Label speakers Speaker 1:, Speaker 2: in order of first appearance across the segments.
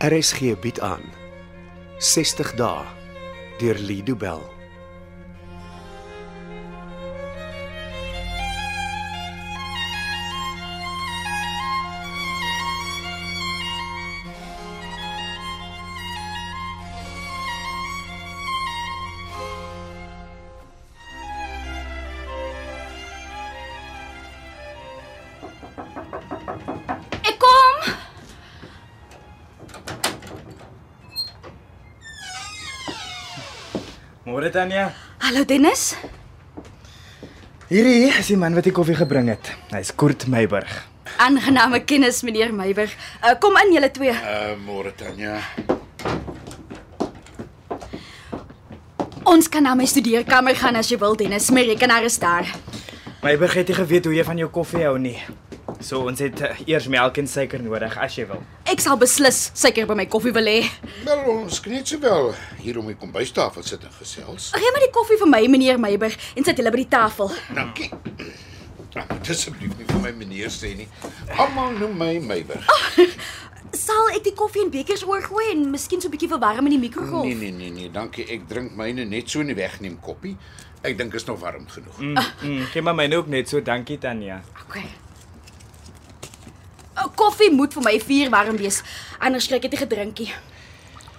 Speaker 1: RSG bied aan 60 dae deur Lido Bell.
Speaker 2: Ek kom.
Speaker 3: Môre Tanya.
Speaker 2: Hallo Dennis.
Speaker 3: Hierdie is die man wat die koffie gebring het. Hy's Kurt Meiburg.
Speaker 2: Aangename kennis meneer Meyburg. Uh, kom in julle twee.
Speaker 4: Uh, môre Tanya.
Speaker 2: Ons kan na my studeerkamer gaan as jy wil Dennis. My rekenaar is daar.
Speaker 3: Meiburg het nie geweet hoe jy van jou koffie hou nie. So ons het eh, eers melk en suiker nodig as jy wil.
Speaker 2: Ek sal beslis seker by my koffie wil hê.
Speaker 4: Wel ons kniet so wel hier om die kombuistafel sit en gesels.
Speaker 2: Gee my die koffie vir my meneer Meyburg en sit julle by die tafel.
Speaker 4: Dankie. Ah, moet Asseblief nie vir my meneer sê nie. Almal noem my Meyburg.
Speaker 2: Sal ek die koffie in bekers oorgooi en miskien so 'n bietjie verwarm in die mikrogolf?
Speaker 4: Nee nee nee nee, dankie. Ek drink myne net so in die wegneem koppie. Ek dink is nog warm genoeg. Mm.
Speaker 3: Mm, mm, gee maar myne ook net so, dankie Tanya.
Speaker 4: nee.
Speaker 2: Okay. Uh, Koffie moet vir my vuur warm wees, anders kry ek dit nie gedrinkie.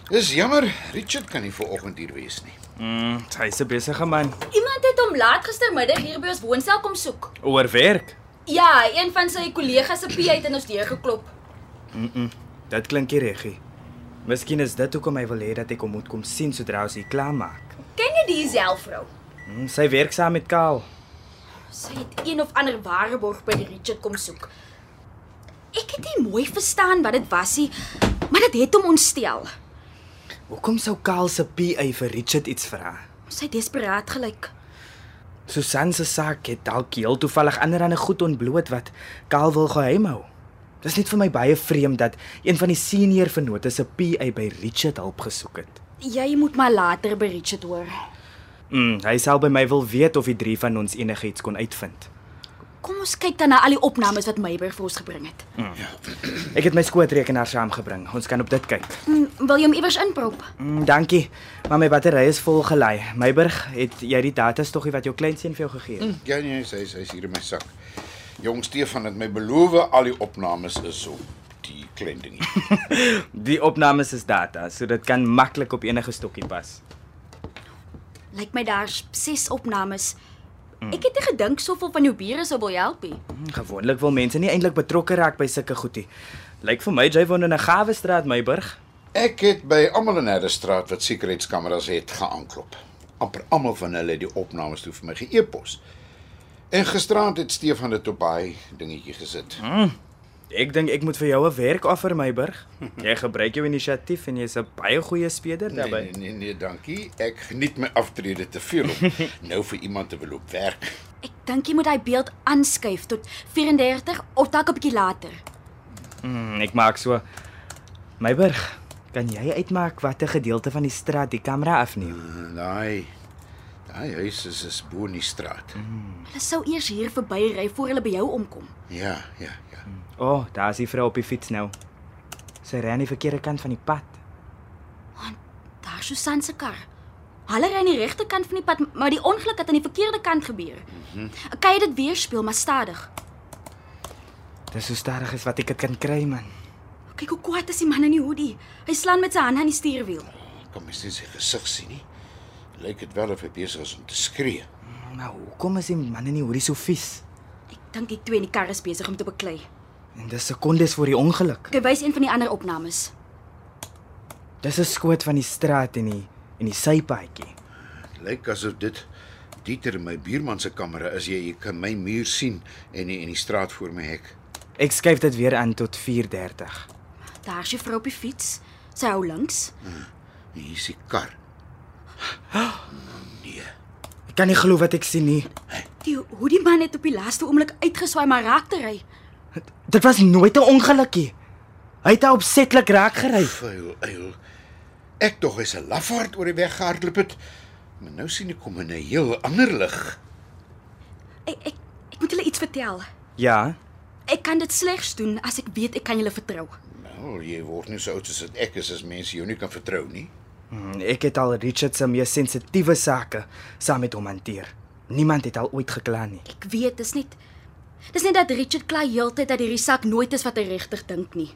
Speaker 4: Dis jammer, Richard kan nie vanoggend hier wees nie.
Speaker 3: Mm, hy's 'n besige man.
Speaker 2: Iemand het hom laat gistermiddag hier by ons woonstel kom soek.
Speaker 3: Oorwerk.
Speaker 2: Ja, een van sy kollegas se PA het in ons deur geklop.
Speaker 3: Dit klink nie reggie. Miskien is dit hoekom hy wil hê dat ek hom moet kom sien sodra ons hier klaar maak.
Speaker 2: Ken jy die selfvrou?
Speaker 3: Mm, sy werk saam met Kaal.
Speaker 2: Sy het een of ander waarborg by Richard kom soek. Ek het nie mooi verstaan wat dit was nie, maar dit het hom ontstel.
Speaker 3: Hoekom sou Kaal se PA vir Richard iets vra?
Speaker 2: Sy het desperaat gelyk.
Speaker 3: Susan se sak het dalk heel toevallig ander aan 'n goed ontbloot wat Kal wil geheim hou. Dis net vir my baie vreemd dat een van die senior vennote se PA by Richard hulp gesoek het.
Speaker 2: Jy moet maar later by Richard hoor.
Speaker 3: Mm, hy sal by my wil weet of die drie van ons enigiets kon uitvind.
Speaker 2: Kom ons kyk dan na al die opnames wat Meyburg vir ons gebring het.
Speaker 3: Ek het my skootrekenaar saamgebring. Ons kan op dit kyk.
Speaker 2: Hmm, wil jy hom iewers inprop?
Speaker 3: Mm, dankie, maar my battery is vol gelei. Meiburg, het jy die data stokkie wat jou kleinseun vir jou gegee het? Mm.
Speaker 4: Ja nee, hy hy is hier in my sak. Jong Stefan het my beloof al die opnames is op die klein dingie.
Speaker 3: Mm. Die opnames is data, so dit kan maklik op enige stokkie pas.
Speaker 2: Lyk my daar's 6 opnames. Ek het nie gedink soveel van jou bure sou wil help nie.
Speaker 3: Gewoonlik wil mense nie eintlik betrokke raak by sulke goedie. Lyk vir my jy woon in 'n gawe straat, Meiburg.
Speaker 4: Ek het by almal in Herrestraat wat sekuriteitskameras het geaanklop. amper almal van hulle het die opnames toe vir my geëpos. En gisteraand het Stefan dit op daai dingetjie gesit.
Speaker 3: Ek dink ek moet vir jou 'n werk offer, Meiburg. Jy gebruik jou inisiatief en jy's 'n baie goeie speler
Speaker 4: Nee,
Speaker 3: daarbey.
Speaker 4: nee nee nee, dankie. Ek geniet my aftrede te veel om nou vir iemand te wil op werk.
Speaker 2: Ek dink jy moet daai beeld aanskuif tot 34 of dalk 'n bietjie later.
Speaker 4: nee.
Speaker 3: Mm, ek maak so. Meiburg, kan jy uitmaak watter gedeelte van die straat die kamera afneem?
Speaker 4: En Daai daai huis is is bo in die straat.
Speaker 2: Hulle sou eers hier verby ry voor hulle by jou omkom.
Speaker 4: Ja, ja, ja.
Speaker 3: O, oh, daar's die vrou op die fiets nou. Sy ry aan die verkeerde kant van die pad.
Speaker 2: Daar Susan se kar. Hulle ry aan die regte kant van die pad, maar die ongeluk het aan die verkeerde kant gebeur. Kan jy dit weer speel maar stadig?
Speaker 3: Dis so stadig as wat ek dit kan kry, man.
Speaker 2: Kyk hoe kwaad is die man in die hoodie. Hy slaan met sy hande aan die stuurwiel.
Speaker 4: Kan mens nie sy gesig sien nie. Lyk dit wel of hy besig is om te skree.
Speaker 3: Maar hoekom is die man in die hoodie so vies?
Speaker 2: Ek dink die twee in die kar is besig om te beklei.
Speaker 3: En dis sekondes voor die ongeluk.
Speaker 2: Ek wys een van die ander opnames.
Speaker 3: Dis 'n skoot van die straat en die en die sypaadjie.
Speaker 4: Lyk asof dit Dieter my buurman se kamera is. Jy, jy kan my muur sien en die, en die straat voor my hek.
Speaker 3: Ek skuif dit weer aan tot 4:30.
Speaker 2: Daar's die vrou op die fiets. Sy hou links.
Speaker 4: En hier is die kar. Nee.
Speaker 3: Ek kan nie glo wat ek sien nie.
Speaker 2: Die hoodie man het op die laaste oomblik uitgeswaai maar raak te ry.
Speaker 3: Dit was nooit 'n ongelukkie. Hy het haar opsetlik raak gery.
Speaker 4: Vuil uil. Ek tog is 'n lafaard oor die weg gehardloop het. Maar nou sien ek kom in 'n heel ander lig.
Speaker 2: Ek ek ek moet julle iets vertel.
Speaker 3: Ja,
Speaker 2: Ek kan dit slegs doen as ek weet ek kan julle vertrou.
Speaker 4: Nou, Wel, jy word nie so oud soos wat ek is as mense jou nie kan vertrou nie.
Speaker 3: Hmm, Ek het al Richard se mees sensitiewe sake saam met hom hanteer. Niemand het al ooit gekla nie.
Speaker 2: Ek weet, dis net Dis net dat Richard klaar heeltyd dat hierdie sak nooit is wat hy regtig dink nie.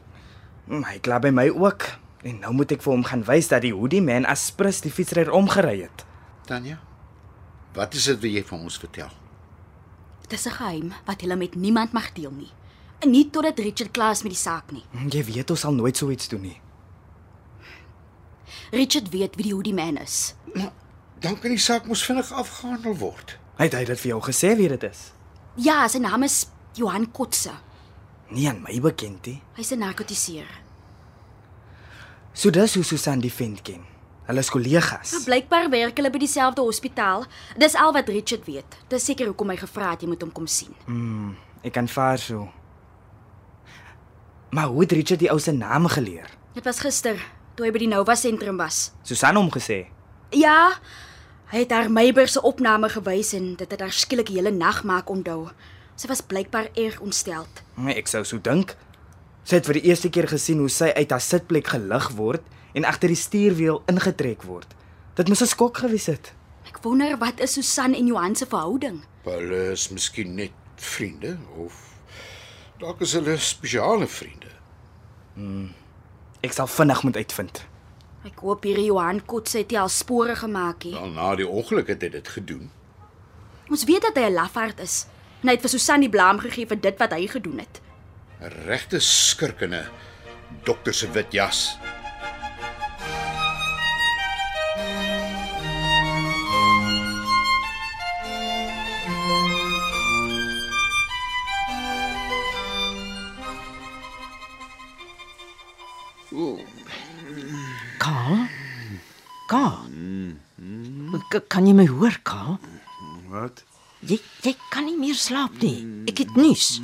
Speaker 3: Hmm, Hy kla by my ook. En nou moet ek vir hom gaan wys dat die hoodie man as prins die fietsryer omgery het.
Speaker 4: Tanya, wat is dit wat jy van ons vertel?
Speaker 2: Dit is 'n geheim wat hulle met niemand mag deel nie. En nie totdat Richard klaar is met die saak nie.
Speaker 3: Hmm, Jy weet ons sal nooit so iets doen nie.
Speaker 2: Richard weet wie die hoodie man is.
Speaker 4: Dan kan die saak mos vinnig afgehandel word.
Speaker 3: Hy het hy dit vir jou gesê wie dit is?
Speaker 2: Ja, sy naam is Johan Kotse.
Speaker 3: Nie aan my bekend nie.
Speaker 2: Hy's 'n narkotiseer.
Speaker 3: So dis hoe Susan die vent ken. Hulle is kollegas.
Speaker 2: Maar blykbaar werk hulle by dieselfde hospitaal. Dis al wat Richard weet. Dis seker hoekom hy gevra het jy moet hom kom sien.
Speaker 3: Hmm, ek kan vaar so. Maar hoe het Richard die ou se naam geleer?
Speaker 2: Dit was gister toe hy by die Nova sentrum was.
Speaker 3: Susan hom gesê.
Speaker 2: Ja, hy het haar Meiber se opname gewys en dit het haar skielik die hele nag maak onthou. Sy was blykbaar erg ontstel.
Speaker 3: Nee, ek sou so dink. Sy het vir die eerste keer gesien hoe sy uit haar sitplek gelig word en agter die stuurwiel ingetrek word. Dit moes 'n skok gewees het.
Speaker 2: Ek wonder wat is Susan en Johan se verhouding?
Speaker 4: Hulle is miskien net vriende of dalk is hulle spesiale vriende.
Speaker 3: Ek sal vinnig moet uitvind.
Speaker 2: Ek hoop hierdie Johan Kotse het nie al spore gemaak nie.
Speaker 4: Wel na die ongeluk het hy dit gedoen.
Speaker 2: Ons weet dat hy 'n lafaard is en hy het vir Susan die blame gegee vir dit wat hy gedoen het.
Speaker 4: 'n Regte skurkene dokter se wit jas.
Speaker 5: Kaal? Kaal. K- Kan jy my hoor, Kaal?
Speaker 1: Wat?
Speaker 5: Jy jy kan nie meer slaap nie. Ek het nuus.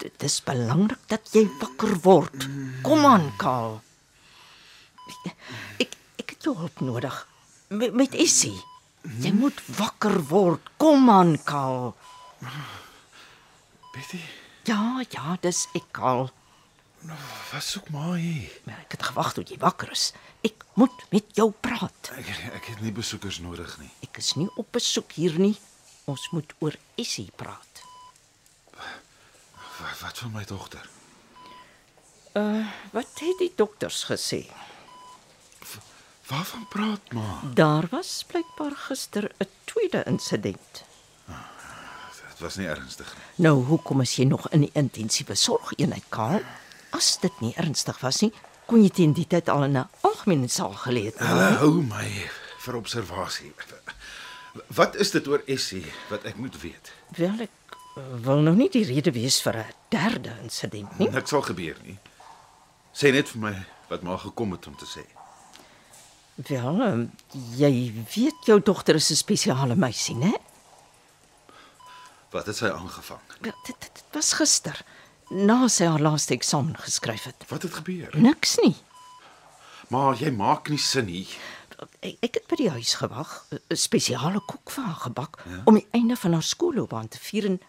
Speaker 5: Dit is belangrik dat jy wakker word. Kom aan, Kaal. Ek ek het jou hulp nodig. Met, met Essie. Jy moet wakker word. Kom aan, Kaal.
Speaker 1: Betty,
Speaker 5: Ja, ja, dis ek, Kaal.
Speaker 1: wat soek maar hier?
Speaker 5: Maar Ek het gewag tot jy wakker is. Ek moet met jou praat.
Speaker 1: Ek ek het nie besoekers nodig nie.
Speaker 5: Ek is nie op besoek hier nie. Ons moet oor Essie praat.
Speaker 1: Wat, wat van my dogter?
Speaker 5: Wat het die dokters gesê?
Speaker 1: Waarvan praat ma?
Speaker 5: Daar was blykbaar gister 'n tweede insident.
Speaker 1: Dit was nie ernstig nie.
Speaker 5: Nou, hoekom is jy nog in die intensiewe sorgeenheid, Karl? As dit nie ernstig was nie, kon jy teen die tyd al in 'n algemene saal gelê het. nie?
Speaker 1: Hulle hou my vir observasie. Wat is dit oor Essie wat ek moet weet?
Speaker 5: Wel ek eh, wil nou nie die rede wees vir 'n derde insident nie.
Speaker 1: Niks sal gebeur nie. Sê net vir my wat maar gekom het om te sê.
Speaker 5: Wel, eh, jy weet jou dogter is 'n spesiale meisie, né?
Speaker 1: Wat het sy aangevang?
Speaker 5: Wel, Dit, dit, dit was gister, na sy haar laaste eksamen geskryf het.
Speaker 1: Wat het gebeur?
Speaker 5: Niks nie.
Speaker 1: Maar jy maak nie sin nie.
Speaker 5: Ek, ek het by die huis gewag, 'n spesiale koek vir haar gebak ja? om die einde van haar skoolloopbaan te vier en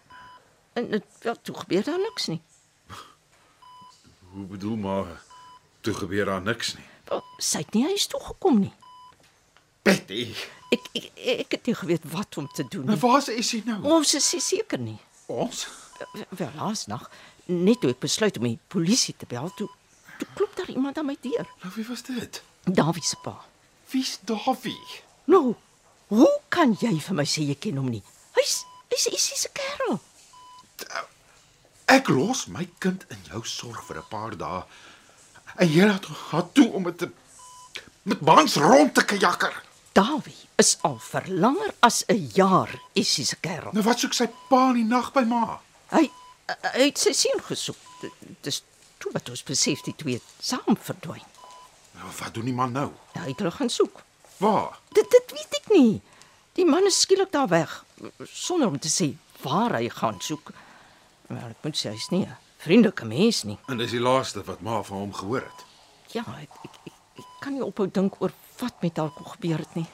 Speaker 5: en dit wel toe gebeur daar niks nie.
Speaker 1: Hoe bedoel maar toe gebeur daar niks nie.
Speaker 5: Wel, Sy het nie huis toe gekom nie.
Speaker 1: Betty,
Speaker 5: Ek ek ek het nie geweet wat om te doen
Speaker 1: maar
Speaker 5: nie.
Speaker 1: waar is sy nou?
Speaker 5: Ons is nie seker nie.
Speaker 1: Ons?
Speaker 5: Wel laas nag, net toe ek besluit om die polisie te bel toe, toe klop daar iemand aan my deur.
Speaker 1: Nou wie was dit?
Speaker 5: Dawie se pa.
Speaker 1: Wie's Davie?
Speaker 5: Nou, hoe kan jy vir my sê jy ken hom nie? Hy's hy's hy's 'n kerel.
Speaker 1: Ek los my kind in jou sorg vir 'n paar dae. En jy laat haar toe om met te met baans rond te kajakker.
Speaker 5: Dawie is al vir langer as 'n jaar Essie se kerel.
Speaker 1: Nou wat soek sy pa in die nag by ma?
Speaker 5: Hy hy het sy seun gesoek. D- Dis toe wat ons besef die twee het saam verdwyn.
Speaker 1: Nou wat doen die man nou?
Speaker 5: Nou hy het hulle gaan soek.
Speaker 1: Waar?
Speaker 5: Dit dit weet ek nie. Die man is skielik daar weg sonder om te sê waar hy gaan soek. Wel, ek moet sê hy's nie 'n vriendelike mens nie.
Speaker 1: En dis die laaste wat ma van hom gehoor het.
Speaker 5: Ja, ek ek, ek, ek kan nie ophou dink oor wat met haar kon gebeur het nie.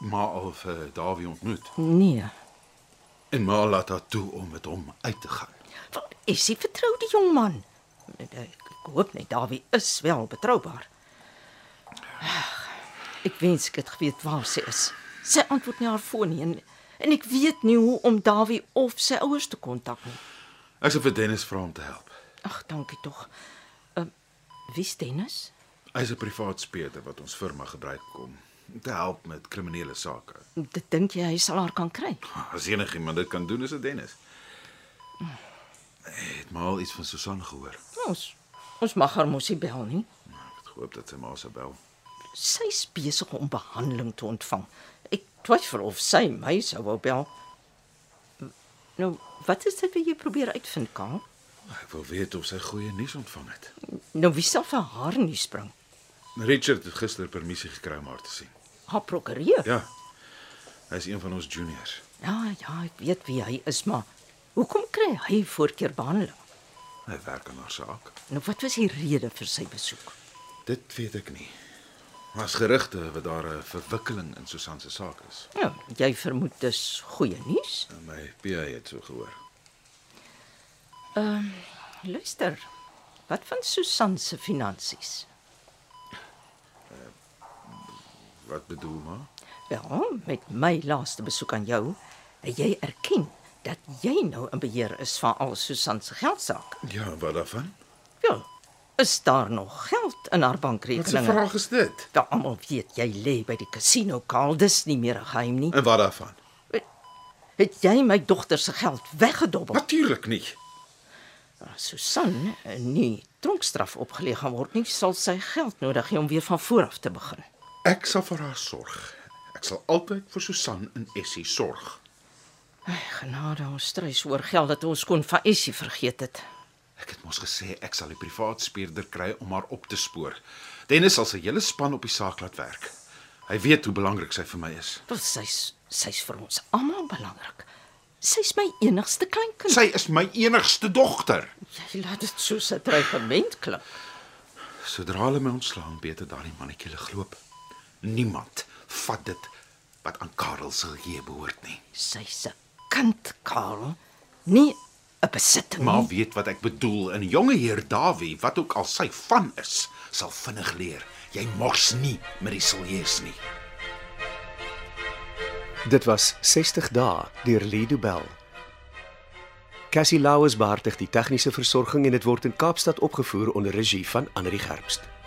Speaker 1: Ma al vir Davie ontmoet
Speaker 5: Nee.
Speaker 1: en ma laat haar toe om met hom uit te gaan.
Speaker 5: Wel, Essie vertrou die jong man. Ek ek hoop net Dawie is wel betroubaar. Ag, Ek wens ek het geweet waar sy is. Sy antwoord nie haar foon nie en, en ek weet nie hoe om Dawie of sy ouers te kontak nie.
Speaker 1: Ek sal vir Dennis vra om te help.
Speaker 5: Ag, dankie tog. Ehm uh, wie is Dennis?
Speaker 1: Hy's 'n privaat speurder wat ons firma gebruik kom om te help met kriminele sake.
Speaker 5: Dit dink jy hy sal haar kan kry?
Speaker 1: As enigiemand dit kan doen, is dit Dennis. Ek het maar al iets van Susan gehoor.
Speaker 5: Ons ons mag haar mos nie bel nie.
Speaker 1: Ek het gehoop dat sy ma sou bel.
Speaker 5: Sy's besig om behandeling te ontvang. Ek twyfel of sy my sou wou bel. Nou, wat is dit wat jy probeer uitvind, Karl?
Speaker 1: Ek wil weet of sy goeie nuus ontvang het.
Speaker 5: Nou wie sal vir haar nie spring?
Speaker 1: Richard het gister permissie gekry om haar te sien.
Speaker 5: Haar prokureur?
Speaker 1: Ja. Hy is een van ons juniors.
Speaker 5: ja, ja, ek weet wie hy is, maar hoekom kry hy voorkeurbehandeling?
Speaker 1: Hy werk aan haar saak.
Speaker 5: Nou wat was die rede vir sy besoek?
Speaker 1: Dit weet ek nie. Daar's gerugte wat daar 'n verwikkeling in Susan se saak is.
Speaker 5: Ja, jy vermoed dis goeie nuus.
Speaker 1: En My PA het so gehoor.
Speaker 5: Luister. Wat van Susan se finansies?
Speaker 1: Wat bedoel maar?
Speaker 5: Wel, met my laaste besoek aan jou, het jy erken dat jy nou in beheer is van al Susan se geldsaak.
Speaker 1: Ja, wat daarvan?
Speaker 5: Ja, is daar nog geld in haar
Speaker 1: Wat 'n
Speaker 5: bankrekeninge?
Speaker 1: vraag is dit?
Speaker 5: Wel, almal weet jy lê by die casino, Karl, dis nie meer 'n geheim nie.
Speaker 1: En wat daarvan?
Speaker 5: Het jy my dogter se geld weggedobbel? Nou,
Speaker 1: Natuurlik Oh. nie.
Speaker 5: Susan, eh, nie tronkstraf opgelê gaan word nie, sal sy geld nodig hê om weer van voor af te begin.
Speaker 1: Ek sal vir haar sorg. Ek sal altyd vir Susan en Essie sorg.
Speaker 5: Ai, genade, ons stres oor geld dat ons kon van Essie vergeet het.
Speaker 1: Ek het mos gesê ek sal die privaat speurder kry om haar op te spoor. Dennis sal sy hele span op die saak laat werk. Hy weet hoe belangrik sy vir my is.
Speaker 5: Wel sy's sy's vir ons almal belangrik. Sy's my enigste kleinkind.
Speaker 1: Sy is my enigste dogter.
Speaker 5: Jy laat dit so 'n dreigement klink.
Speaker 1: Sodra hulle my ontslaan, weet dit daardie mannetjie hulle gloop. Niemand vat dit wat aan Karel se geheue behoort nie.
Speaker 5: Sy's 'n kind, Karl, nie 'n besitting
Speaker 1: Maar
Speaker 5: nie.
Speaker 1: weet wat ek bedoel, 'n jonge heer Dawie, wat ook al sy van is, sal vinnig leer. Jy mors nie met die siljeus nie.
Speaker 6: Dit was 60 dae deur Lido Bell. Cassie Lauers beheer tig die tegniese versorging en dit word in Kaapstad opgevoer onder regie van Anri Gerbst.